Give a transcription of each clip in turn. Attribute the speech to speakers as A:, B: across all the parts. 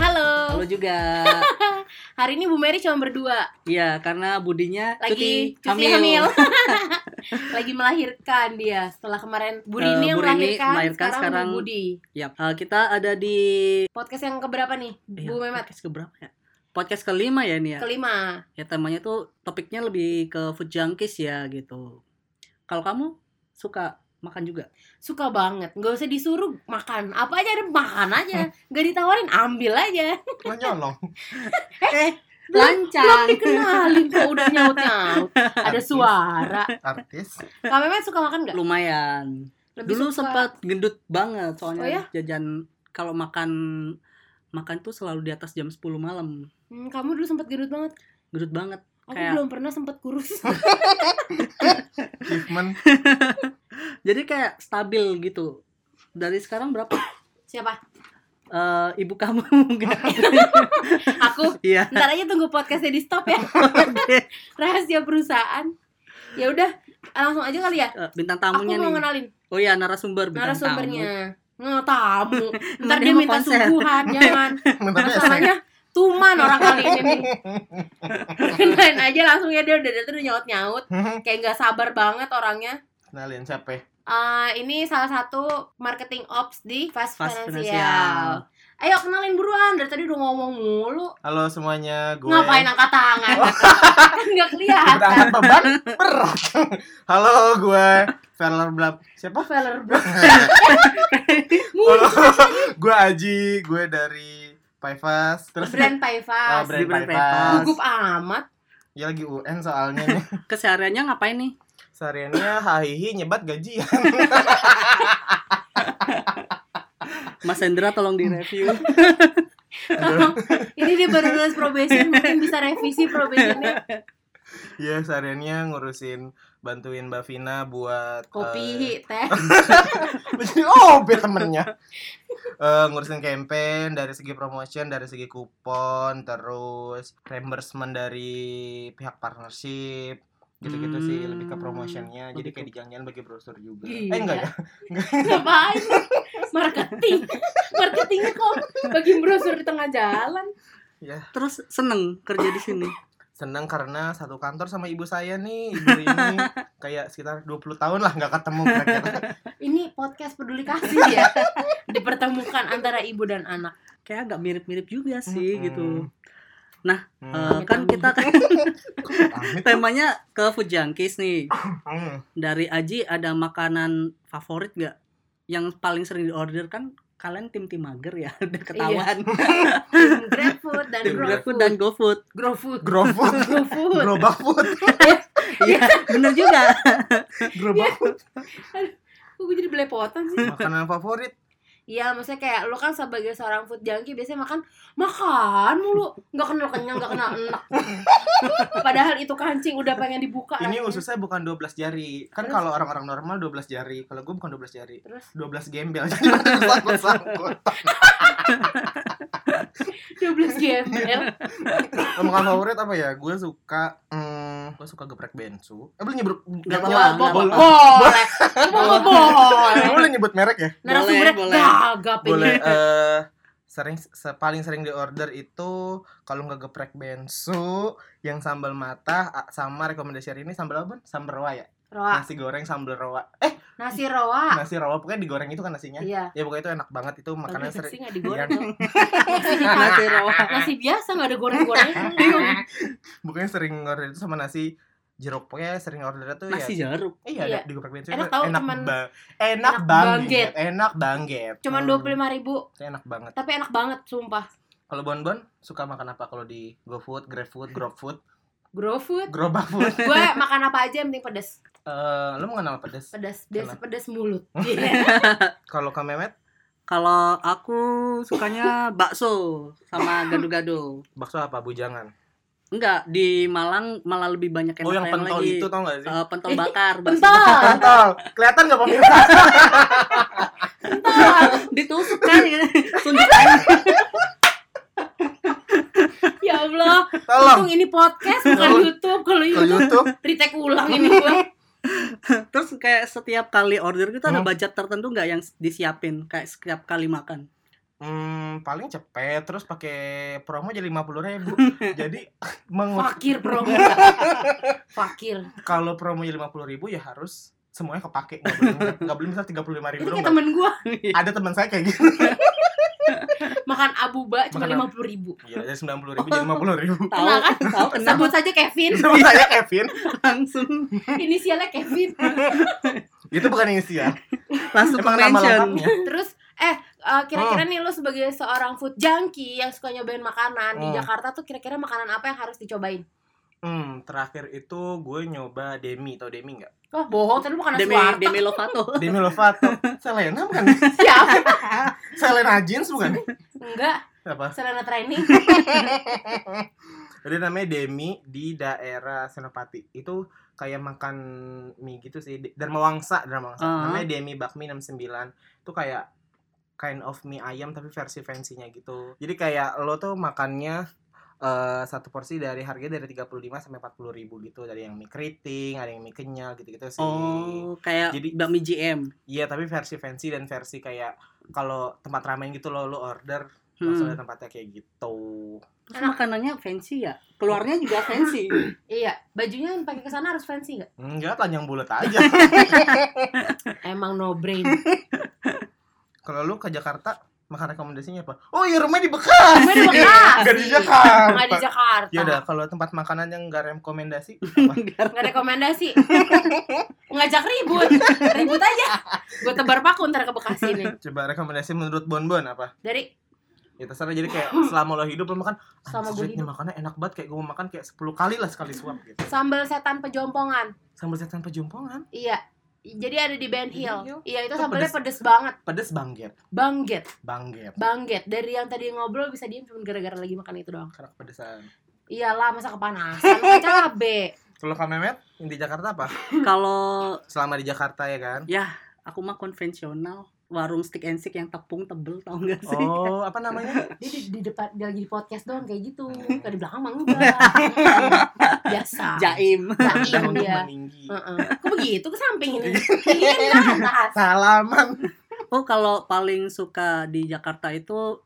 A: Halo.
B: Halo juga.
A: Hari ini Bu Mary cuma berdua.
B: Iya, karena budinya
A: Lagi
B: cuti,
A: cuti hamil. Lagi melahirkan dia. Setelah kemarin Bu
B: Eh,
A: Rini yang
B: Bu Rini
A: melahirkan,
B: melahirkan,
A: sekarang,
B: sekarang
A: Bu Budi.
B: Yap. Eh, kita ada di
A: Podcast yang keberapa nih?
B: Iya,
A: Bu Memet
B: podcast keberapa ya? Podcast kelima ya ini ya.
A: kelima.
B: Ya temanya tuh topiknya lebih ke food junkies ya gitu. Kalau kamu suka makan juga?
A: Suka banget. Gak usah disuruh makan. Apa aja ada makan aja. Gak ditawarin ambil
B: Iya.
A: aja.
C: Lo nyolong
B: Eh,
A: Belum- Belum
B: lancang.
A: dikenalin kok udah nyaut nyaut. Ada suara.
C: artis
A: Kak Memet suka makan nggak?
B: Lumayan.
A: Lebih
B: Dulu
A: suka-
B: sempat gendut banget soalnya
A: Oh ya?
B: jajan kalau makan makan tuh selalu di atas jam 10 malam.
A: Hmm, kamu dulu sempat gendut banget.
B: Gendut banget.
A: Aku
B: Kayak-
A: belum pernah sempat kurus.
C: achievement
B: Jadi kayak stabil gitu. Dari sekarang berapa?
A: Siapa?
B: Eh, ibu kamu enggak?
A: Aku.
B: Iya.
A: Ntar aja tunggu podcastnya di stop ya.
B: Oke.
A: rahasia perusahaan ya udah langsung aja kali ya
B: Eh, bintang
A: aku
B: tamunya
A: mau
B: nih.
A: ngenalin
B: Oh iya, narasumber bintang tamu.
A: narasumbernya nggak tamu ntar
B: Ntar
A: dia
B: dia mau
A: minta
B: konser.
A: suguhan jangan
C: Bentar ya, saya
A: masalahnya tuman orang kali ini nih Perkenalan aja langsung ya dia udah dari tadi nyaut nyaut kayak nggak sabar banget orangnya
C: kenalin siapa ya?
A: Eh, ini salah satu marketing ops di Fast,
B: Fast
A: Financial. Ayo kenalin buruan dari tadi udah ngomong mulu.
C: halo semuanya gue
A: Ngapain angkat tangan? kan nggak kelihatan.
C: berangkat beban berat halo gue Feller Blab siapa
A: Feller bro.
C: halo gue Aji gue dari Paivas terus
A: Brand
C: Ah,
A: Paivas.
C: brand
B: Brand
C: Paivas
A: Gugup amat.
C: ya lagi UN soalnya nih
B: Kesehariannya ngapain nih?
C: sehariannya hahihi nyebat ya. gajian
B: Mas Hendra tolong direview.
A: Tolong, ini dia baru lulus probation, mungkin bisa revisi probationnya.
C: ya sehariannya ngurusin bantuin Mbak Vina buat eh,
A: Kopi, teh.
C: Jadi oh temennya Eh, ngurusin campaign dari segi promotion dari segi kupon terus reimbursement dari pihak partnership gitu-gitu sih
B: Hmm,
C: lebih ke promotionnya jadi
B: lebih
C: kayak
B: ke- Iya.
C: dijanjian bagi brosur juga
A: Gila.
C: eh enggak ya
A: Iya. Ngapain? Marketing. Marketingnya kok bagi brosur di tengah jalan.
B: Terus seneng kerja di sini.
C: seneng karena satu kantor sama ibu saya nih ibu ini kayak sekitar 20 tahun lah nggak ketemu kira-kira
A: Ini podcast peduli kasih ya. Dipertemukan antara ibu dan anak.
B: Kayak agak mirip-mirip juga sih
C: Mm-mm.
B: gitu.
C: Hmm,
B: Eh, kan kita kan
C: amit.
B: temanya ke food junkies nih.
C: Hmm.
B: Dari Aji ada makanan favorit nggak? Yang paling sering diorder kan kalian tim-tim mager ya, udah
A: Iya.
B: ketahuan.
A: Tim GrabFood dan
B: Tim GrabFood
A: GrowFood.
B: dan GoFood.
A: GrowFood.
C: Growfood,
A: GrowFood.
C: gerobak food,
A: Eh,
B: Iya, bener juga.
C: gerobak food.
A: Kok gue jadi belepotan sih?
C: Makanan favorit
A: Iya, maksudnya kayak lu kan sebagai seorang food junkie biasanya makan makan mulu, nggak kenal kenyang, nggak kenal enak. Padahal itu kancing udah pengen dibuka.
C: ini
A: rasanya.
C: ususnya bukan 12 jari. Kan
A: Terus?
C: kalau orang-orang normal 12 jari, kalau gue bukan 12 jari.
A: Terus
C: 12 gembel jadi sangkut-sangkut
A: 12 gembel.
C: makan favorit apa ya gue suka hmm, gue suka geprek bensu eh boleh nyebut
B: Nggak
C: nyebut-
B: apa-apa,
C: nyebut-
B: nggak apa-apa.
A: Boleh. Boleh. Boleh.
C: boleh nyebut merek ya
A: Narasumbernya
B: boleh.
A: gagap ini.
C: boleh eh sering se- paling sering diorder itu kalau nggak geprek bensu yang sambal mata a- sama rekomendasi hari ini sambal apa sambal roa ya
A: Roa,
C: nasi goreng sambal roa eh
A: nasi roa.
C: nasi roa pokoknya digoreng itu kan nasinya
A: Iya.
C: ya pokoknya itu enak banget itu makanan
A: Makanan
C: sering
A: sih nggak digoreng.
C: Iya.
A: dong.
B: Nasi rawa.
A: Nasi biasa nggak ada goreng-gorengnya. Bingung.
C: bukannya sering order itu sama nasi jeruk pokoknya sering order itu ya
B: Nasi jeruk.
C: Iya,
A: Iya.
C: ada di geprek bensu
A: Enak
C: itu
A: tau,
C: enak
A: cuman-
C: ba-
A: enak
C: enak banget,
A: banget.
C: enak banget.
A: Cuman
C: Hmm,
A: dua puluh ribu,
C: itu enak banget.
A: tapi enak banget, sumpah.
C: Kalau Bonbon suka makan apa kalau di GoFood, GrabFood, GrabFood,
A: GrowFood.
C: Gerobak Food?
A: Gue makan apa aja yang penting pedes.
C: Eh, lu mengenal pedes?
A: pedas biasa
C: Kenapa?
A: pedas mulut Iya.
C: Kalau Kak Memet
B: Kalau aku sukanya bakso sama gado-gado.
C: bakso apa bujangan?
B: Enggak, di Malang malah lebih banyak yang
C: oh, yang pentol
B: lagi.
C: itu tau gak sih?
B: Eh, pentol bakar, bakso
A: pentol
C: Pentol. Kelihatan gak pemirsa?
A: pentol
B: ditusuk kan ya. Tunduk.
A: ya allah
C: Tolong
A: untung ini podcast bukan
C: Tolong.
A: YouTube kalau
C: ke
A: YouTube
C: YouTube
A: retake ulang ini gue
B: Terus kayak setiap kali order gitu ada
C: Hmm.
B: budget tertentu nggak yang disiapin kayak setiap kali makan?
C: Hmm, paling cepet terus pakai promo jadi lima puluh ribu. jadi mengu-
A: Fakir bro. Fakir.
C: kalau promo lima puluh ribu ya harus semuanya kepake nggak boleh nggak boleh misal tiga puluh lima ribu
A: Itu kayak temen gue
C: ada teman saya kayak gitu
A: makan abuba cuma
C: Makan
A: lima puluh ribu.
C: ya dari sembilan puluh ribu jadi lima puluh ribu
B: Tahu
A: Kenal kan?
B: tahu kenal
A: Sebut saja Kevin.
C: sama saya Kevin
B: langsung
A: Inisialnya Kevin.
C: itu bukan inisial
B: langsung ke
C: emang nama
B: mention.
C: lengkapnya
A: Terus eh uh, kira-kira nih lo sebagai seorang food junkie yang suka nyobain makanan di
C: Hmm.
A: Jakarta tuh kira-kira makanan apa yang harus dicobain?
C: hmm terakhir itu gue nyoba Demi tau Demi nggak
A: Oh bohong, tadi bukan
B: Demi
A: Aswarta.
B: Demi Lovato.
C: Demi Lovato Selena bukan
A: Siapa?
C: Selena Jeans bukan
A: Enggak,
C: apa
A: Selena Training.
C: jadi namanya Demi di daerah Senopati itu kayak makan mie gitu sih D- Dharmawangsa Dharmawangsa
B: Ah.
C: namanya Demi Bakmi 69 itu kayak kind of mie ayam tapi versi fancy-nya gitu jadi kayak lo tuh makannya eh, satu porsi dari harga dari 35 sampai 40 ribu gitu dari yang mie keriting ada yang mie kenyal gitu-gitu sih
B: Oh, kayak
C: Jadi-
B: bakmi GM.
C: Iya tapi versi fancy dan versi kayak kalau tempat ramen gitu lo lo order langsung ada
B: Hmm.
C: tempatnya kayak gitu.
B: Terus makanannya fancy ya? Keluarnya juga fancy.
A: iya, bajunya yang pakai kesana harus fancy nggak?
C: Enggak telanjang bulat aja.
A: Emang no brain.
C: kalau lu ke Jakarta makan rekomendasinya apa? Oh iya rumahnya di Bekasi.
A: Cuma di Bekasi.
C: Gak di Jakarta.
A: Nggak di Jakarta.
C: Ya udah kalau tempat makanan yang enggak rekomendasi apa?
A: Nggak rekomendasi. Ngajak ribut. Ribut aja. Gue tebar paku ntar ke Bekasi nih.
C: Coba rekomendasi menurut Bonbon apa?
A: Dari
C: Ya terserah jadi kayak selama lo hidup lo makan
A: Selama
C: "Anjir,
A: gua
C: ini makannya enak banget kayak gue mau makan kayak 10 kali lah sekali suap gitu.
A: sambal setan pejompongan.
C: Sambal setan pejompongan,
A: Iya. Jadi ada di Ben
C: Di Ben Hill.
A: Hill. Iya, itu
C: Itu
A: sambalnya
C: pedes.
A: pedes banget.
C: pedes bangget,
A: Bangget,
C: bangget
A: bangget. Dari yang tadi ngobrol bisa diem cuma gara-gara lagi makan itu doang.
C: karena kepedesan.
A: Iyalah, masa kepanasan Kan cabe.
C: Kalau Kak Memet yang di Jakarta apa?
B: Kalau
C: Selama di Jakarta ya kan?
B: aku mah konvensional, warung stick and stick yang tepung tebel tau gak sih?
C: Oh, apa namanya?
A: Dia di, di depan dia lagi di podcast doang kayak gitu. Kalau di belakang mah enggak. Biasa.
B: Jaim.
A: Jaim
C: Untuk
A: dia.
C: meninggi.
A: Heeh. Kok begitu ke samping ini? Ini kan atas.
C: Nah, Salaman.
B: Oh, kalau paling suka di Jakarta itu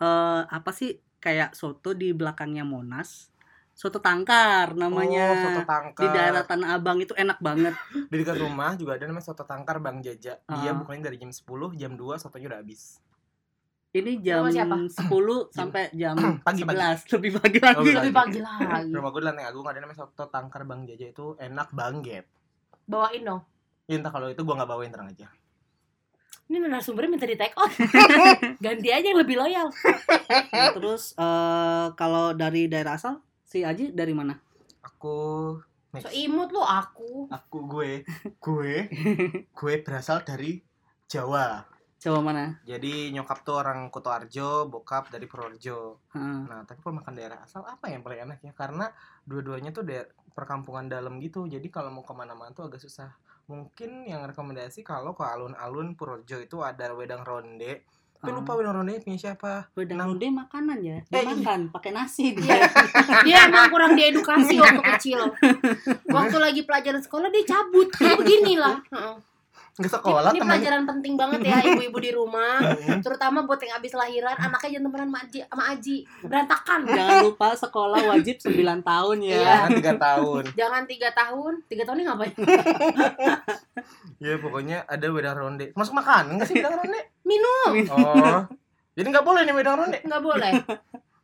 B: eh, apa sih? Kayak soto di belakangnya Monas. Soto tangkar namanya.
C: Oh, soto tangkar.
B: di daerah Tanah Abang itu enak banget.
C: Di dekat rumah juga ada namanya soto tangkar Bang Jaja. Dia
B: Ah.
C: bukannya dari jam 10, jam 2 sotonya udah habis.
B: Ini jam
A: Sama siapa?
B: 10 sampai jam
C: Pagi, pagi.
B: 11, lebih pagi lagi.
C: Oh,
A: Lebih pagi lagi.
C: Rumah gue di lantai agung ada namanya soto tangkar Bang Jaja itu enak banget.
A: Bawain dong.
C: Ya entah kalau itu gua nggak bawain terang aja.
A: Ini narasumbernya minta di take off. Ganti aja yang lebih loyal.
B: Nah, terus eh, kalau dari daerah asal si Aji dari mana?
C: Aku
A: So
C: Next.
A: imut lu aku.
C: aku gue gue gue berasal dari Jawa.
B: Jawa mana?
C: Jadi nyokap tuh orang Kutoarjo, bokap dari Purworejo.
B: Heeh.
C: Nah, tapi kalau makan daerah asal apa yang paling enak ya? Karena dua-duanya tuh daer- perkampungan dalam gitu. Jadi kalau mau kemana-mana tuh agak susah. Mungkin yang rekomendasi kalau ke alun-alun Purworejo itu ada wedang ronde. Tapi
B: Ah.
A: Oh.
C: lupa wedang ronde punya siapa?
B: Wedang
C: Nang-
B: Lode makanan ya.
C: Eh,
B: Dia
C: iya.
B: makan pakai nasi dia.
A: Iya. Dia emang kurang diedukasi waktu kecil. Waktu lagi pelajaran sekolah dia cabut. Kayak beginilah. Heeh.
C: Nggak sekolah
A: Ini, ini
C: temannya.
A: pelajaran penting banget ya ibu-ibu di rumah.
C: Mm.
A: Terutama buat yang abis lahiran anaknya jangan temenan sama Aji, sama Aji. Berantakan.
B: Jangan lupa sekolah wajib 9 tahun ya.
A: Iya.
C: Kan tiga tahun.
A: Jangan tiga tahun, tiga tahun ini ngapain?
C: Ya pokoknya ada wedang ronde. Masuk makan nggak sih wedang ronde?
A: Minum.
C: Oh. Jadi nggak boleh nih wedang ronde.
A: Nggak boleh.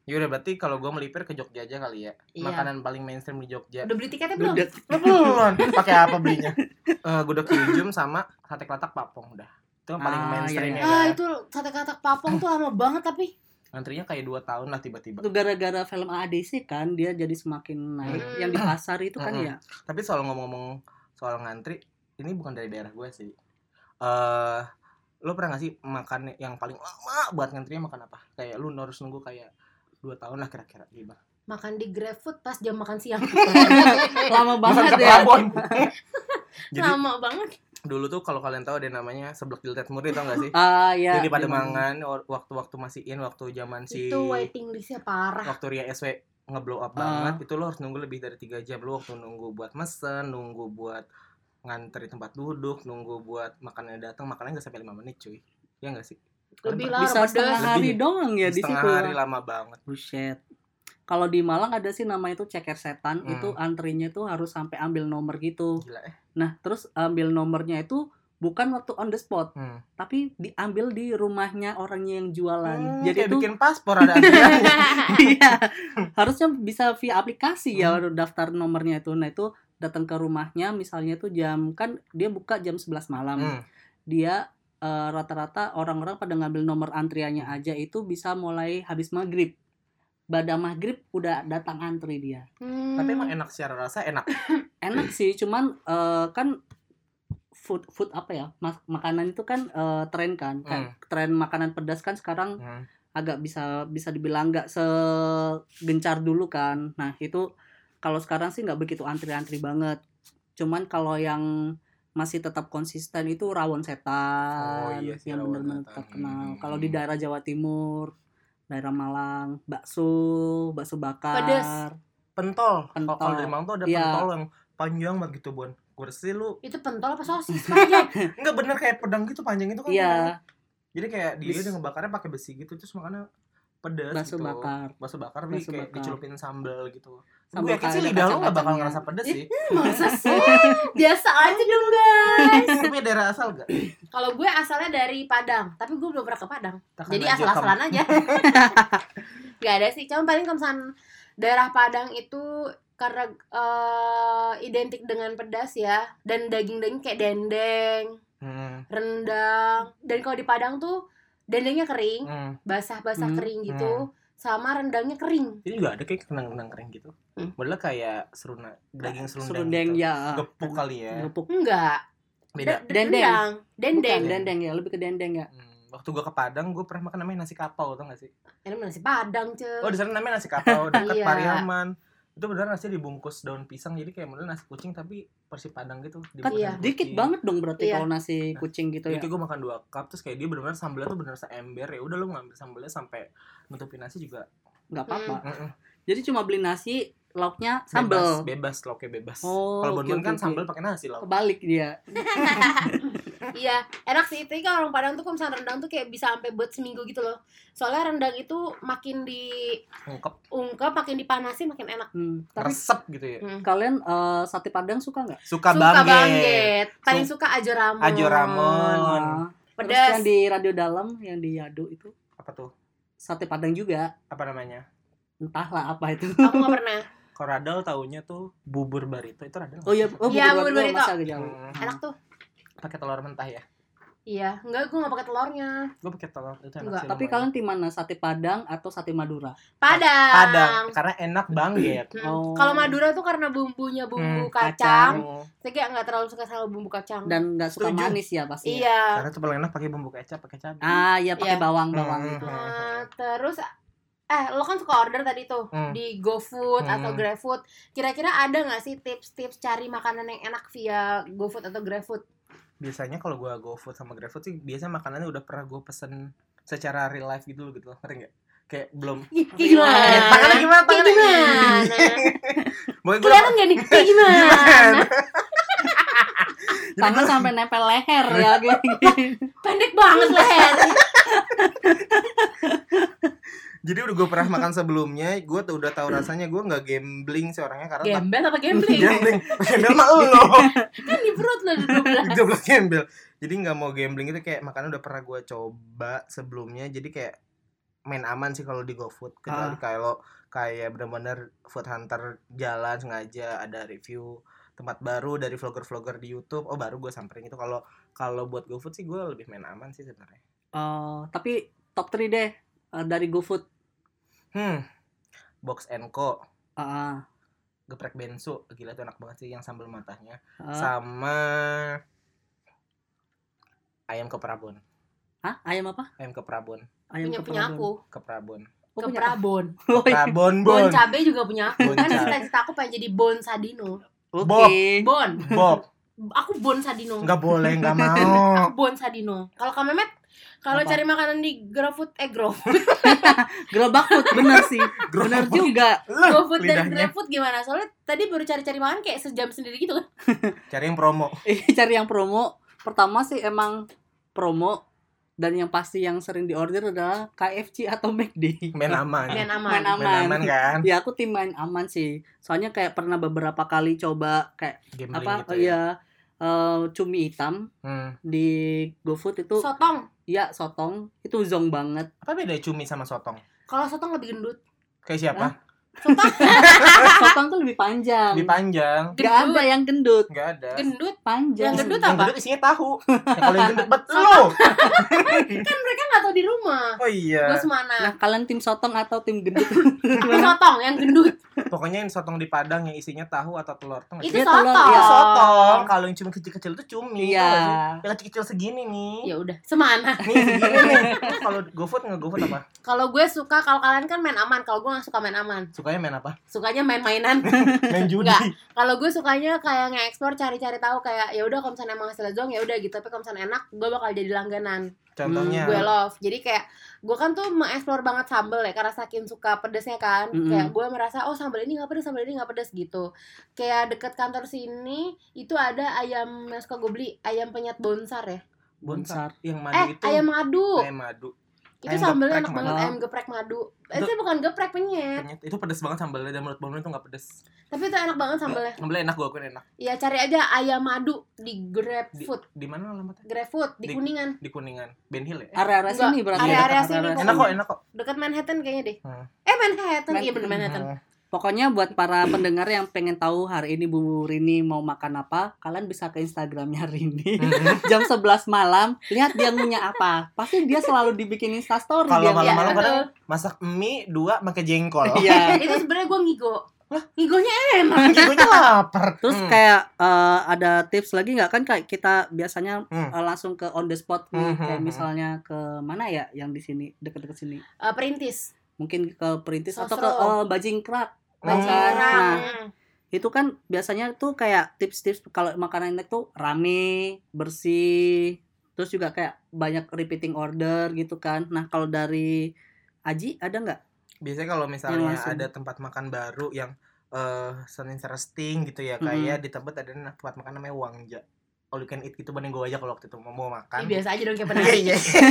C: Ya udah berarti kalau gue melipir ke Jogja aja kali ya.
A: Iya.
C: Makanan paling mainstream di Jogja.
A: Udah beli tiketnya belum?
B: Gudeg.
C: Lu belum pakai apa belinya? Eh gudeg kiljum sama sate kelatak papong udah. Itu yang paling
B: Ah, iya,
C: mainstream ya.
B: iya.
A: Ah,
C: kan?
A: itu sate katak papong tuh lama banget tapi.
C: Antrinya kayak 2 tahun lah tiba-tiba.
B: Itu gara-gara film AADC kan dia jadi semakin naik.
A: Hmm.
B: Yang di pasar itu kan
C: Mm-mm.
B: ya.
C: Tapi soal ngomong-ngomong soal ngantri, ini bukan dari daerah gue sih. Eh lo pernah gak sih makan yang paling lama buat ngantrinya makan apa? Kayak lu harus nunggu kayak 2 tahun lah kira-kira gitu.
A: Makan di GrabFood pas jam makan siang.
C: Eh,
B: Lama banget
C: ke
B: ya.
C: Prabon. Jadi-
A: Lama banget.
C: Dulu tuh kalau kalian tahu ada namanya seblak jilted muri tau gak sih?
B: Ah ya.
C: Jadi pada
B: Memang.
C: mangan or- waktu-waktu masih in, waktu zaman si
A: Itu waiting listnya parah.
C: waktu Ria SW ngeblow up
B: Ah.
C: banget itu lo harus nunggu lebih dari tiga jam lo waktu nunggu buat mesen nunggu buat ngantri tempat duduk nunggu buat makanannya datang makanannya nggak sampai lima menit cuy ya nggak sih
A: Lebih
C: Kalian
A: lah.
B: bisa
A: Orang
B: setengah
C: pedes.
B: hari
C: Lebih.
B: doang ya di
C: setengah
B: situ
C: hari lama banget
B: buset kalau di Malang ada sih nama itu ceker setan
C: Hmm.
B: itu antrinya tuh harus sampai ambil nomor gitu
C: gila eh
B: nah terus ambil nomornya itu bukan waktu on the spot
C: hmm.
B: tapi diambil di rumahnya orangnya yang jualan
C: Hmm,
B: jadi
C: kayak
B: itu
C: bikin paspor ada antriannya.
B: iya harusnya bisa via aplikasi ya daftar nomornya itu nah itu datang ke rumahnya misalnya tuh jam kan dia buka jam 11 malam
C: Hmm.
B: dia eh, rata-rata orang-orang pada ngambil nomor antriannya aja itu bisa mulai habis maghrib Bada maghrib udah datang antri dia
A: Hmm.
C: tapi emang enak secara rasa enak
B: enak sih cuman eh, kan food food apa ya mas- makanan itu kan eh, tren kan Kayak tren makanan pedas kan sekarang
C: Hmm.
B: agak bisa bisa dibilang nggak segencar dulu kan nah itu kalau sekarang sih nggak begitu antri-antri banget cuman kalau yang masih tetap konsisten itu rawon
C: Oh,
B: setan
C: iya sih,
B: yang
C: rawon
B: benar-benar
C: setan.
B: terkenal
C: Hmm.
B: kalau di daerah Jawa Timur daerah Malang bakso bakso bakar
A: Pedes.
C: pentol Kalau- kalau
B: Pentol.
C: dari Malang tuh ada
B: Iya.
C: pentol yang panjang banget gitu bon gue rasa lu
A: Itu pentol apa sosis? Ya, Panjang.
C: Enggak bener kayak pedang gitu panjang itu kan.
B: iya
C: Jadi kayak dia
B: Bis-
C: udah ngebakarnya pakai besi gitu terus makanya pedas
B: bakso
C: gitu.
B: bakar
C: Bakso bakar tapi
B: Bakso
C: kayak
B: bakar.
C: dicelupin sambal gitu.
B: Sambal
C: Gue yakin
B: kayak
C: sih
B: ada
C: lidah lo gak bakal
B: kacang-kacangnya.
C: ngerasa pedas sih.
A: hmm, Masa sih? Biasa aja dong guys.
C: Tapi punya daerah asal gak?
A: Kalau gue asalnya dari Padang, tapi gue belum pernah ke Padang.
C: Takkan
A: Jadi
C: aja
A: asal-asalan aja. Gak ada sih. Cuma paling kemsan daerah Padang itu karena eh, identik dengan pedas ya dan daging-daging kayak dendeng,
C: kamu- Hmm.
A: rendang. Dan kalau di Padang tuh dendengnya kering,
C: hmm.
A: basah-basah
B: Hmm,
A: kering gitu, sama rendangnya kering.
C: Ini juga ada kayak kenang-kenang kering gitu.
A: Hmm.
C: Modelnya kayak seruna daging
B: Nah,
C: serundeng.
B: serundeng
C: gitu.
B: ya
C: Gepuk kali ya.
B: gepuk
A: Enggak.
C: Beda.
A: De-
B: Dendeng.
A: rendang.
B: dendeng
A: Dendeng.
B: dendeng ya lebih ke dendeng ya
C: Hmm, Waktu gue ke Padang, gue pernah makan namanya nasi kapau, tau gak sih?
A: Ini nasi Padang, cuy.
C: Oh, di sana namanya nasi kapau, dekat
A: Iya.
C: Pariaman. Itu beneran nasi dibungkus daun pisang, jadi kayak model nasi kucing tapi persib Padang gitu. dibungkus
A: Iya.
C: daun
B: Kan dikit
C: kucing. Nah.
B: banget dong berarti
A: Iya.
B: kalau nasi kucing gitu
C: Jadi
B: ya
C: kayak gue makan dua cup terus kayak dia benar-benar sambelnya tuh bener seember ya udah lu ngambil sambelnya sampai nutupin nasi juga
B: nggak apa-apa
A: Hmm.
C: Mm-mm.
B: Jadi cuma beli nasi, lauknya sambal.
C: bebas, bebas lauknya bebas.
B: Oh,
C: Kalau
B: oke,
C: bonbon
B: oke,
C: kan
B: oke.
C: sambel pakai nasi lauk.
B: Kebalik dia.
A: Iya, enak sih. Tapi kalau orang Padang tuh kalau misalnya rendang tuh kayak bisa sampai buat seminggu gitu loh. Soalnya rendang itu makin diungkep,
C: Ungkep,
A: makin dipanasin makin enak.
B: Hmm. Tapi
C: resep gitu ya.
B: kalian eh, sate padang suka nggak?
C: Suka,
A: suka
C: banget.
A: banget. Paling suka Ajo Ramon.
C: Ajo
A: Oh,
C: Ramon. kan Mon.
B: Ah. Terus
A: Pedas.
B: yang di radio dalam, yang di Yadu itu
C: Apa tuh?
B: sate padang juga.
C: Apa namanya?
B: Entahlah apa itu.
A: Aku gak pernah.
C: Koradal taunya tuh bubur barito itu radal.
B: Oh iya, oh,
A: Iya,
B: bubur
A: bubur
B: Barito
A: Barito.
B: masa agak jauh.
C: Hmm,
A: Enak tuh.
C: pakai telur mentah ya.
A: Iya, enggak gue gak pakai telurnya.
C: Gue pakai telur itu enak
A: Enggak,
C: sih
B: Tapi
C: lumayan.
B: kalian tim mana? Sate padang atau sate madura?
A: Padang.
C: Padang
B: Mm.
C: karena enak banget.
A: Mm.
B: Oh.
A: Kalau Madura tuh karena bumbunya bumbu
C: Hmm,
A: kacang. Saya kayak nggak terlalu suka sama bumbu kacang.
B: Dan nggak suka
C: Setuju.
B: manis ya pasti.
A: Hmm. iya.
C: Karena tuh paling enak pakai bumbu kecap, pakai cabai.
B: Ah, iya pakai
A: Iya.
B: bawang-bawang.
C: Hmm,
A: Eh,
C: hmm, hmm.
A: terus eh lo kan suka order tadi tuh.
C: Hmm.
A: di GoFood
C: Hmm.
A: atau GrabFood. Kira-kira ada nggak sih tips-tips cari makanan yang enak via GoFood atau GrabFood?
C: biasanya kalau gua GoFood sama GrabFood sih biasanya makanannya udah pernah gue pesen secara real life gitu loh gitu loh ngerti nggak kayak belum
A: Kayak
B: Gimana?
A: gimana?
C: tangannya gimana
A: Kayak
C: tangannya
A: Eh, gimana?
C: Pokoknya gua
A: Kelihatan nggak nih? Kayak gimana?
C: Jadi
B: Tangan
C: gua-
B: sampai nempel leher ya gini.
A: Pendek banget leher.
C: jadi udah gue pernah makan sebelumnya gue tuh udah tahu rasanya gue nggak gambling sih orangnya karena tak-
A: Gembel apa gambling?
C: gambling gambling mah lo
A: Kan di perut lo duduk lah.
C: gue bilang gambel jadi nggak mau gambling itu kayak makanan udah pernah gue coba sebelumnya jadi kayak main aman sih kalau di GoFood kecuali kalau kayak benar-benar food hunter jalan sengaja ada review tempat baru dari vlogger-vlogger di YouTube oh baru gue samperin itu kalau kalau buat GoFood sih gue lebih main aman sih sebenarnya
B: Oh, tapi top 3 deh eh, dari GoFood.
C: hmm box and co
B: Ah,
C: geprek bensu gila tuh enak banget sih yang sambal matahnya
B: ah, ah.
C: sama ayam ke Prabon
B: Hah? Ayam apa?
C: ayam ke Prabon
B: Ayam
A: Punya
B: ke
A: punya
B: Prabon.
A: aku.
C: ke Prabon
B: Oh,
A: Ke
B: punya-
A: Prabon.
B: Oh, iya.
C: Prabon
A: Bon
C: bon
A: cabe juga punya aku.
C: Bon
A: Kan
C: cabe.
A: cita-cita aku pengen jadi Bon Sadino.
B: Oke.
C: Bob.
A: Bon.
C: Bob
A: aku Bon Sadino.
C: nggak boleh nggak mau
A: Aku Bon Sadino. Kalau Kak Memet kalau
B: Apa?
A: cari makanan di GrabFood eh GrabFood,
B: gerobak food bener sih bener juga
C: Loh,
A: GoFood dan
C: lidahnya
A: GrabFood gimana? Soalnya tadi baru cari-cari makan kayak sejam sendiri gitu kan.
C: cari yang promo
B: Eh, cari yang promo pertama sih emang promo dan yang pasti yang sering diorder adalah KFC atau McD
C: main aman
A: Main aman.
B: Main aman.
C: main aman kan
B: ya aku tim main aman sih soalnya kayak pernah beberapa kali coba kayak
C: gambling
B: apa
A: Oh,
C: gitu
A: iya.
C: ya,
B: ya eh, cumi hitam
C: Hmm.
B: di GoFood itu
A: Sotong.
B: ya sotong itu zong banget
C: apa beda cumi sama sotong
A: Kalau sotong lebih gendut.
C: kayak siapa
A: Sotong
B: sotong tuh lebih panjang
C: di panjang
B: Gak ada
A: gendut.
B: yang gendut
C: nggak ada
A: Gendut
B: panjang
A: Yang gendut
C: yang
A: apa?
C: gendut isinya tahu yang kalau yang gendut bet lo
A: kan mereka nggak tahu di rumah.
C: oh
A: Gue
C: iya
A: semana.
B: nah kalian tim sotong atau tim gendut
A: Aku sotong yang gendut.
C: pokoknya yang sotong di padang yang isinya tahu atau telur tuh nggak
A: Itu
B: Iya,
A: sotong.
B: telur, iya.
C: sotong kalau yang cumi kecil-kecil itu cumi
B: iya
C: tau gak sih? yang kecil-kecil segini nih
A: Ya udah, semana.
C: nih segini nih Terus kalau gofood nggak gofood apa
A: Kalau gue suka kalau kalian kan main aman, kalau gue nggak suka main aman.
C: sukanya main apa
A: Sukanya main-mainan.
C: main judi
A: Nggak. kalau gue sukanya kayak nge-explore cari-cari tahu kayak ya udah kalau misalnya emang hasilnya zong ya udah gitu tapi kalau misalnya enak gue bakal jadi langganan
C: contohnya
A: gue love jadi kayak gue kan tuh mengeksplor banget sambel ya karena saking suka pedesnya kan
B: Mm-mm.
A: kayak gue merasa oh sambel ini nggak pedes sambel ini nggak pedes gitu kayak deket kantor sini itu ada ayam yang suka gue beli ayam penyet bonsar ya
C: bonsar yang madu
A: eh
C: itu
A: ayam madu
C: ayam madu
A: itu
C: ayam
A: sambelnya
C: geprek
A: enak banget
B: madu.
A: ayam geprek madu Eh, itu bukan geprek penyet
C: Penyet. itu pedes banget sambalnya dan menurut Bang itu nggak pedes
A: tapi itu enak banget sambelnya
C: sambalnya enak gue akuin enak
A: ya cari aja ayam madu di GrabFood
C: di mana alamatnya
A: GrabFood di
C: Di-
A: kuningan
C: di kuningan Ben Hill ya
B: area-area
A: Enggak,
B: sini berarti
C: area-area
B: Area-area
A: sini,
B: sini.
C: enak kok enak kok
A: dekat Manhattan kayaknya deh
C: Hmm.
A: eh Manhattan
B: Man-
A: iya bener Manhattan
C: Hmm.
B: Pokoknya buat para pendengar yang pengen tahu hari ini Bu Rini mau makan apa, kalian bisa ke Instagramnya Rini
C: Hmm.
B: jam 11 malam. Lihat dia ngunyah apa. Pasti dia selalu dibikin Insta story
A: Iya,
B: dia.
C: Kalau Hmm. malam-malam kan. Oh.
A: betul.
C: kadang- Eh. masak mie dua pakai jengkol
B: Iya.
A: itu sebenarnya gue ngigo lah ngigonya enak
C: gue lapar
B: Terus
C: Hmm.
B: kayak eh, ada tips lagi nggak kan kayak kita biasanya
C: Hmm.
B: eh, langsung ke on the spot nih,
C: Hmm, hmm,
B: kayak
C: hmm.
B: misalnya ke mana ya yang di sini dekat-dekat sini.
A: Eh, perintis
B: Mungkin ke Perintis atau ke
A: Sosro.
B: eh, Bajingkrak.
C: Oh. Hmm.
A: Baju
B: Bajingkrak.
A: orang.
B: Nah, itu kan biasanya tuh kayak tips-tips kalau makanan enak tuh rame, bersih, terus juga kayak banyak repeating order gitu kan. Nah kalau dari Aji ada nggak?
C: biasanya kalau
A: Iya,
C: misalnya
B: langsung.
C: ada tempat makan baru yang eh sound interesting gitu ya kayak
A: Mhm.
C: di tempat ada na- tempat makan namanya Wangja all you can eat gitu banding gue aja kalau waktu itu mau, mau
A: Ih,
C: makan
A: biasa aja dong kayak penari
C: kan. Iya, iya. Cak,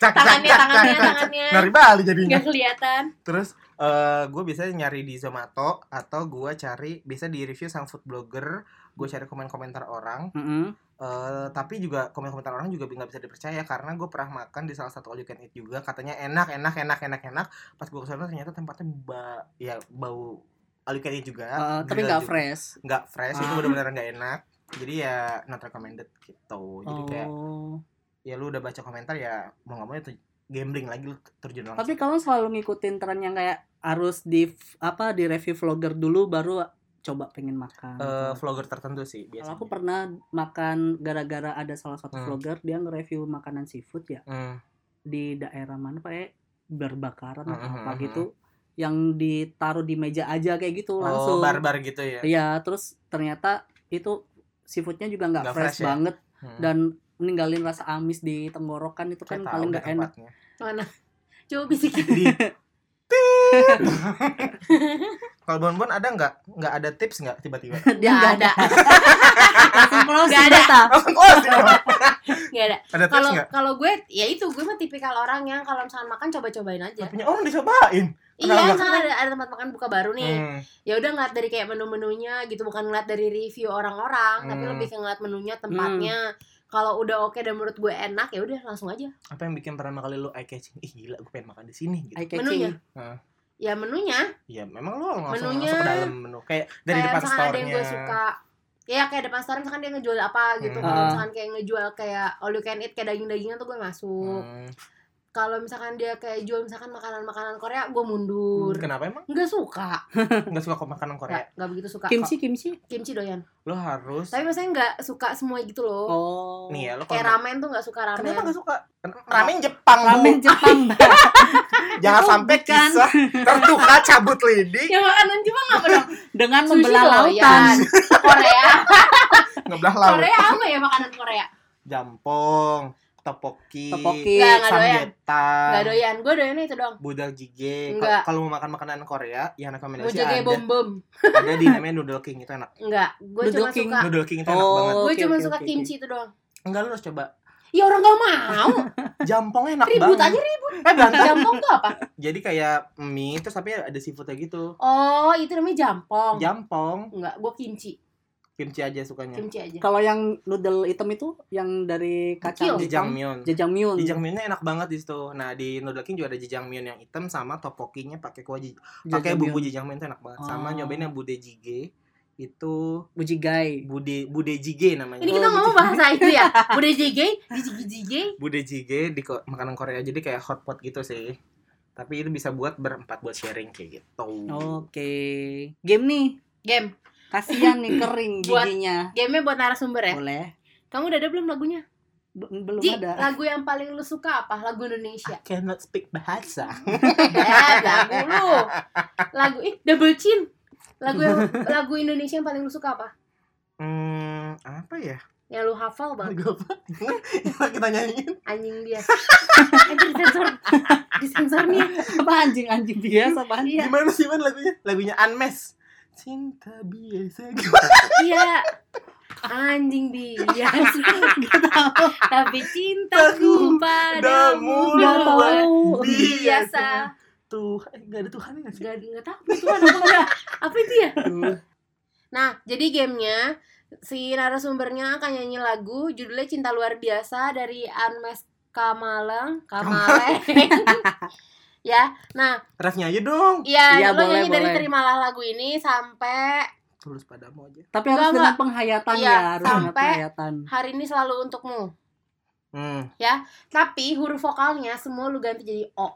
C: cak,
A: tangannya tangannya
C: cak, cak, cak, cak.
A: tangannya
C: nari Bali jadinya
A: nggak kelihatan
C: terus eh gue biasanya nyari di Zomato atau gue cari biasa di review sang food blogger gue cari komen komentar orang
B: Mm-mm.
C: Eh, tapi juga komen-komentar orang juga nggak bisa dipercaya karena gue pernah makan di salah satu all you can eat juga katanya enak enak enak enak enak pas gue kesana ternyata tempatnya ba ya bau all you can eat juga
B: Eh, tapi
C: grill
B: nggak
C: juga.
B: fresh.
C: nggak fresh itu
B: Ah.
C: benar-benar nggak enak jadi ya not recommended gitu jadi kayak
B: Oh.
C: ya lu udah baca komentar ya mau nggak mau itu gambling lagi lu terjun langsung
B: Tapi kalau selalu ngikutin tren yang kayak harus di apa di review vlogger dulu baru coba pengen makan.
C: Eh, vlogger tertentu sih
B: kalau
C: biasanya
B: aku pernah makan gara-gara ada salah satu
C: Hmm.
B: vlogger dia nge-review makanan seafood ya.
C: Hmm,
B: di daerah mana pak eh berbakaran atau
C: Mhm,
B: apa
C: mhm.
B: gitu yang ditaruh di meja aja kayak gitu
C: oh
B: langsung
C: barbar gitu ya
B: iya terus ternyata itu seafoodnya juga nggak
C: Nggak
B: fresh,
C: fresh ya?
B: banget
C: Hmm.
B: dan ninggalin rasa amis di tenggorokan itu kan
C: Saya tahu
B: paling
C: deh
B: nggak enak
C: tempatnya.
A: mana coba bisikin
C: di kalau bonbon ada nggak nggak ada tips nggak tiba-tiba
B: Dia
A: nggak
B: nggak
A: ada
B: langsung closing
A: Nggak ada.
B: kita.
C: oh siapa?
A: nggak ada
C: ada tips
A: kalau
C: nggak
A: kalau gue ya itu gue mah tipikal orang yang kalau misalnya makan coba-cobain aja
C: punya orang dicobain kenapa
A: iya
C: nggak?
A: misalnya ada, ada tempat makan buka baru nih
C: hmm.
A: ya udah ngeliat dari kayak menu-menunya gitu bukan ngeliat dari review orang-orang tapi
C: Hmm.
A: lebih ke ngeliat menunya tempatnya kalau udah oke dan menurut gue enak ya udah langsung aja
C: apa yang bikin pertama kali lu eye catching ih gila gue pengen makan di sini gitu
B: Eye
A: Menunya.
B: catching.
A: ya menunya
C: ya memang lu langsung
A: Menunya.
C: langsung ke dalam menu kayak dari
A: kayak
C: depan
A: misalnya ada yang
C: store-nya
A: gue suka ya kayak depan store misalkan dia ngejual apa gitu
C: Hmm.
A: kalau
B: Ah.
A: misalkan kayak ngejual kayak all you can eat kayak daging-dagingan tuh gue masuk
C: Hmm.
A: kalau misalkan dia kayak jual misalkan makanan-makanan Korea gue mundur
C: kenapa emang
A: nggak suka
C: nggak suka kok makanan Hmm, kan. Korea
A: nggak nggak begitu suka
B: kimchi kimchi
A: kimchi doyan
C: lu harus
A: tapi maksudnya nggak suka semua gitu loh
B: oh
C: nih ya lu
A: kayak
C: kalau
A: ramen tuh nggak suka ramen
C: kenapa nggak suka ramen Jepang Bu.
A: Oh.
B: ramen Jepang Mbak.
C: jangan
B: Itu
C: sampai
B: bukan.
C: kisah tertukar cabut lidik
A: Iya. ya makanan cuma nggak pernah
B: dengan
A: Sushi
B: membelah
A: doyan.
B: lautan
A: Korea
C: nggak ngebelah laut.
A: Korea apa ya makanan Korea?
C: Jampong, topoki,
B: Topoki.
A: Nggak, nggak doyan.
C: samgyetang,
A: Gak doyan, gue doyannya itu doang
C: budak jjigae.
A: Nggak.
C: Ka- Kalau mau makan makanan Korea, ya rekomendasi
A: Mujage
C: ada.
A: bom bom
C: Ada di namanya Noodle King itu enak.
A: Enggak, gue cuma
B: Duduking.
A: suka
C: Noodle King itu enak banget.
B: Oh,
A: Gue
B: oke,
A: cuma
B: oke,
A: suka
B: oke,
A: kimchi itu doang
C: Enggak lu harus coba.
A: Ya orang gak mau
C: Jampong enak
A: Ribut
C: banget.
A: aja ribut
C: Eh, berantem.
A: Jampong tuh apa?
C: Jadi kayak mie terus tapi ada seafoodnya gitu.
A: Oh itu namanya jampong
C: Jampong,
A: Enggak, gue kimchi
C: kimchi aja sukanya.
A: Kimchi aja
B: Ya. Kalau yang noodle hitam itu yang dari kacang
A: Kecil.
B: hitam,
C: Jjajangmyeon.
B: jajangmyeon.
C: Jjajangmyeonnya enak banget di situ. Nah, di Noodle King juga ada jjajangmyeon yang hitam sama topokinya pakai kuah jij- pakai
B: Jajangmyeon.
C: bumbu jajangmyeon itu enak banget sama
B: Oh.
C: nyobain yang bude jjigae itu
B: bujigai.
C: bude bude jjigae namanya
A: Ini kita
B: Oh,
A: ngomong bahasa itu ya Udah jige, jige jige
C: bude jjigae di ko- makanan Korea jadi kayak hotpot gitu sih tapi itu bisa buat berempat buat sharing kayak gitu
B: Oke. Game nih.
A: Game
B: Kasihan nih kering
A: Buat-
B: giginya.
A: Gamenya buat narasumber ya
B: Boleh.
A: Kamu udah ada belum lagunya?
B: B- belum
A: Ji,
B: ada.
A: lagu yang paling lu suka apa? Lagu Indonesia
C: I cannot speak bahasa
A: Eh, lagu lu Lagu, ih double chin Lagu yang, lagu Indonesia yang paling lu suka apa?
C: hmm apa ya
A: Yang lu hafal banget
C: lagu apa Yang kita nyanyiin
A: anjing dia anjing disensor disensor nih
B: Apa anjing anjing biasa apaan?
A: Iya.
C: gimana sih man lagunya lagunya Anmes cinta biasa
A: iya anjing bias tapi cintaku
C: Cintaku
A: padamu
C: padamu
B: Nggak tahu.
A: biasa
C: tuh eh, nggak ada Tuhan nggak sih
A: nggak nggak tahu itu apa enggak apa itu ya
C: Tuh.
A: nah jadi gamenya si narasumbernya akan nyanyi lagu judulnya cinta luar biasa dari Anmes Kamaleng Kamaleng ya nah
C: refnya aja dong
A: ya,
B: Iya,
A: lo
B: boleh,
A: nyanyi dari
B: boleh.
A: terimalah lagu ini sampai
C: tulus padamu aja
B: Tapi
A: Nggak,
B: harus dengan
A: nggak.
B: penghayatan
A: Iya,
B: ya, harus dengan
A: sampai-
B: penghayatan.
A: hari ini selalu untukmu
C: hmm
A: Tapi huruf vokalnya semua lu ganti jadi O.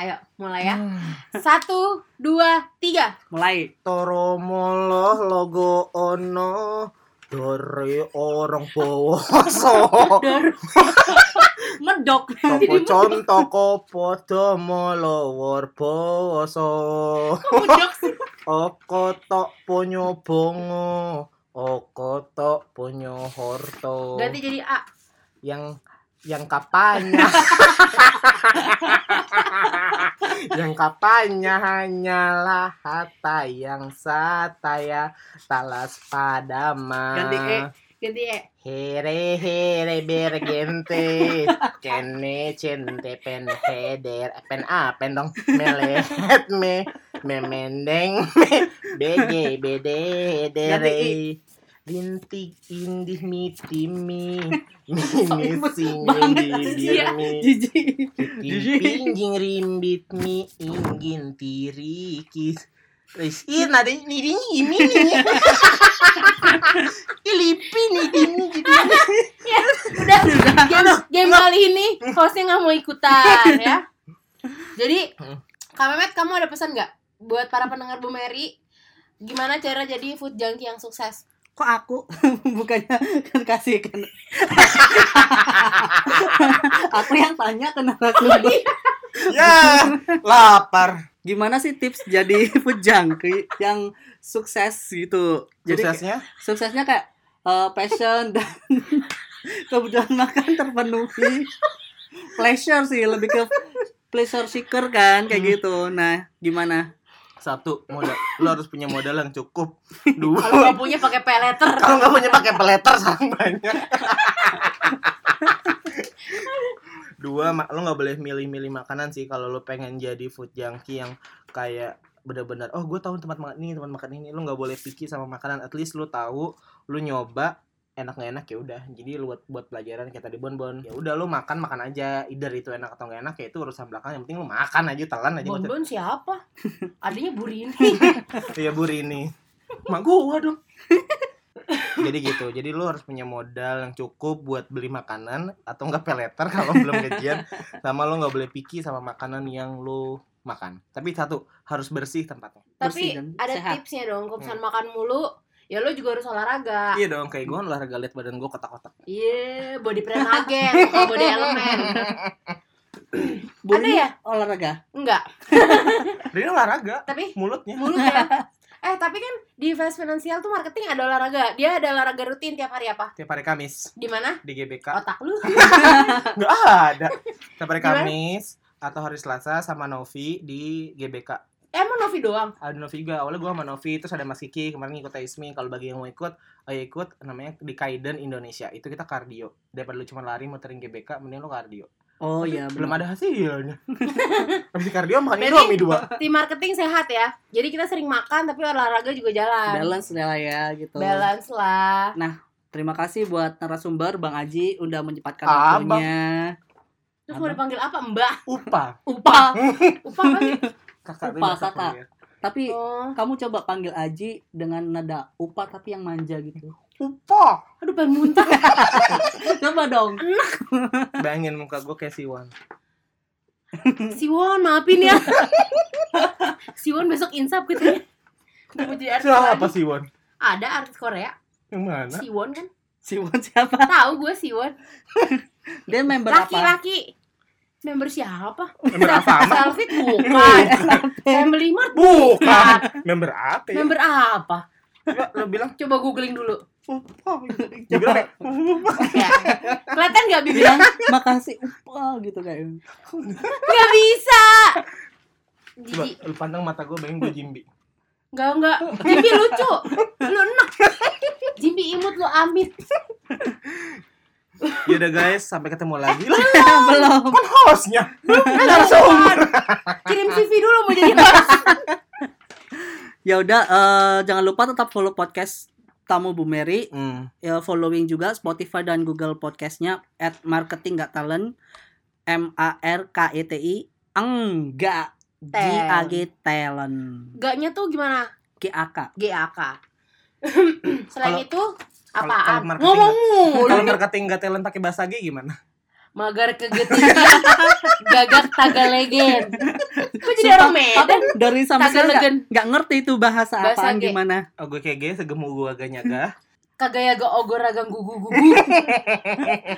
A: Ayo, mulai ya.
B: Hmm.
A: Satu, dua, tiga.
B: Mulai.
C: Toro molo logo ono dari orang poso
B: Medok.
C: Toko contoko podo molo war poso
A: Medok sih.
C: Oko tok punyo bongo Oko tok punyo
B: Oh.
C: horto
A: Ganti jadi A.
C: Yang yang kapannya yang kapannya hanyalah hata yang sataya talas padama
B: Ganti E.
A: Ganti E.
C: Here here bergente kene cente pen heder pen a pen dong melehet me memendeng me bege bede dere lintik indih mitimi mimi
B: Sorry,
C: singin
B: banget sih
C: bibir
A: Iya.
B: ya.
C: mi
B: Jijik.
C: Titik pingging rimbit mi inggin tirikis. Wis, ih nada ini ini ini. Ilipi nih ini gitu.
A: Udah, game, game kali ini hostnya nggak mau ikutan ya. Jadi,
B: Hmm.
A: Kak Mehmet, kamu ada pesan nggak buat para pendengar Bu Mary? Gimana cara jadi food junkie yang sukses?
B: Kok aku bukannya kan kasih kan. aku yang tanya ke narasumber.
C: Ya, lapar.
B: Gimana sih tips jadi food junkie yang sukses gitu? Jadi kayak-
C: Suksesnya
B: suksesnya kayak eh, passion dan kebutuhan makan terpenuhi. pleasure sih lebih ke pleasure seeker kan kayak
C: Hmm.
B: gitu. Nah, gimana?
C: satu modal. Lo harus punya modal yang cukup.
A: Kalau
C: Dua.
A: nggak punya pakai peleter.
C: Kalau nggak punya pakai peleter sama banyak. Dua, ma- lo nggak boleh milih-milih makanan sih kalau lo pengen jadi food junkie yang kayak bener-bener oh gue tahu tempat makan ini tempat makan ini lo nggak boleh picky sama makanan at least lo tahu lo nyoba enak nggak enak ya udah jadi lo buat buat pelajaran kayak tadi bon bon ya udah lo makan makan aja either itu enak atau nggak enak ya itu urusan belakang yang penting lo makan aja telan aja
A: Bonbon siapa? Adanya Bu Rini.
C: Iya Bu Rini Mak gua dong Jadi gitu Jadi lu harus punya modal yang cukup Buat beli makanan Atau enggak peleter Kalau belum gajian Sama lu nggak boleh picky Sama makanan yang lu makan Tapi satu Harus bersih tempatnya
A: Tapi
B: Bersih dan
A: ada
B: sehat. Hmm.
A: tipsnya dong, kalau misalnya makan mulu, ya lo juga harus olahraga.
C: Iya dong Kayak gua olahraga liat badan gua kotak-kotak
A: Iya, body plan again, bukan body ya? element.
B: Bulunya
A: ya?
B: olahraga.
A: Enggak,
C: Rini olahraga
A: tapi
C: Mulutnya
A: mulut ya. Eh tapi kan di Fast Financial tuh marketing ada olahraga. Dia ada olahraga rutin tiap hari apa?
C: Tiap hari Kamis
A: Di mana?
C: di GBK.
A: Otak lu. Eh,
C: Enggak ada. Tiap hari
A: Gimana?
C: Kamis atau hari Selasa sama Novi di GBK.
A: Emang Novi doang.
C: Ada Novi juga. Awalnya gue sama Novi terus ada Mas Kiki kemarin ikut Ismi. Kalau bagi yang mau ikut, ayo ikut namanya di Kaiden Indonesia. Itu kita kardio. Daripada lu cuma lari muterin GBK, mending lu kardio.
B: Oh iya,
C: Belum
B: benar.
C: ada hasilnya. Habis kardio makan
A: Berarti-
C: Indomie dua.
A: Tim marketing sehat ya. Jadi kita sering makan tapi olahraga juga jalan.
B: balance lah ya gitu.
A: Balance lah.
B: Terima kasih buat narasumber Bang Aji udah menyempatkan
C: Abang.
B: waktunya.
A: Terus mau
B: Apa?
A: dipanggil apa? Mbak.
C: Upa.
B: Upa.
A: Upa apa sih?
C: Kakak
B: Upa,
C: masa
B: kakak.
C: kuliah.
B: Tapi
A: Oh.
B: kamu coba panggil Aji dengan nada upa tapi yang manja gitu.
C: Upa.
A: Aduh pengen muntah.
B: coba dong.
C: Bayangin muka gue kayak Siwan.
A: Siwon maafin ya. Siwon besok insap gitu ya. katanya. Untuk menjadi artis
C: Siapa
A: lagi.
C: Siwan?
A: Ada artis Korea.
C: Yang mana?
A: Siwon kan.
B: Siwon siapa?
A: Tahu gue Siwon.
B: Dia member apa?
A: Laki-laki. Member siapa?
C: Member apa?
A: Selfie bukan. Family Mart
C: Bukan.
B: Iya.
C: Member apa? ya?
A: Member apa?
C: Coba Lu bilang
A: Coba googling dulu.
C: Upa. Dia
B: Coba
C: bilang kayak, Upa.
A: Ya. Kelihatan nggak
C: Iya.
A: bibir?
B: bilang makasih upa gitu kayaknya.
A: Nggak bisa.
C: Coba
A: Jiji,
C: lu pandang mata gue bayangin gue Jimbi.
A: nggak nggak. Jimmy lucu, lu enak. Jimmy imut lu amit.
C: Yaudah Iya guys, sampai ketemu lagi. Lah,
B: Belum.
C: kan hostnya.
A: Bukan. Kirim CV dulu mau jadi host.
B: Ya udah eh, jangan lupa tetap follow podcast tamu Bu Mary
C: Hmm.
B: ya, following juga Spotify dan Google podcastnya at marketing nggak talent M A R K E T I enggak G A G talent
A: Gaknya tuh gimana?
B: G A K
A: GAK. Selain
C: Kalau-
A: itu
C: kalau
A: apaan?
C: marketing-
A: Ngomong mulu.
C: Kalau marketing gak talent pakai bahasa G gimana?
A: Magar kegetikan gagak tagalegen. Kok jadi orang Medan?
B: dari sama sekali nggak-
A: Tagalegen.
B: nggak ngerti itu bahasa,
A: Eh, Bahasa
B: apaan
A: G.
B: gimana
C: Oh, gue kayak G segemu gue ganyaga.
A: Kagayaga ogoragang gugu gugu.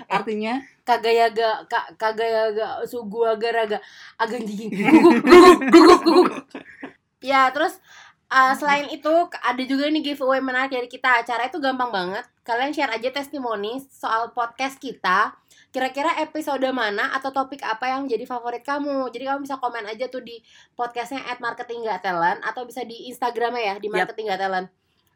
B: artinya
A: Kagayaga ya ka, kagayaga sugu agaraga agang gigi guguk guguk guguk guguk. Ya, terus uh, selain itu ke- ada juga nih giveaway menarik dari kita. Acara itu gampang banget. Kalian share aja testimoni soal podcast kita. Kira-kira episode mana atau topik apa yang jadi favorit kamu. Jadi kamu bisa komen aja tuh di podcastnya at marketing Nggak talent atau bisa di Instagramnya ya di
B: Yap.
A: marketing Nggak talent.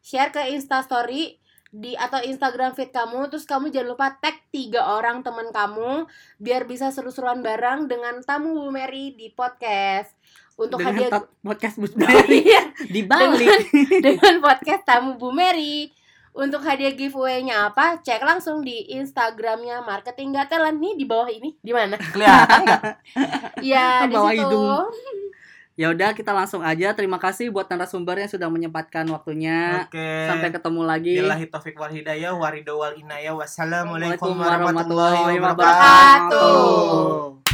A: Share ke Insta Story di atau Instagram feed kamu terus kamu jangan lupa tag tiga orang teman kamu biar bisa seru-seruan bareng dengan tamu Bu Mary di podcast untuk
B: dengan
A: hadiah
B: tot- podcast Bu Mary
A: Iya,
B: di Bali
A: dengan podcast tamu Bu Mary. Untuk hadiah giveaway-nya apa? Cek langsung di Instagramnya Marketing Gak Talent nih di bawah ini. Di mana?
C: Kelihatan nggak?
A: Ya, di
B: Bawah
A: situ.
B: hidung. ya udah kita langsung aja terima kasih buat narasumber yang sudah menyempatkan waktunya
C: Oke.
B: sampai ketemu lagi
C: Billahi taufiq wal hidayah warido wal inayah.
B: Assalamualaikum
C: Wassalamualaikum warahmatullahi wabarakatuh.
B: warahmatullahi wabarakatuh.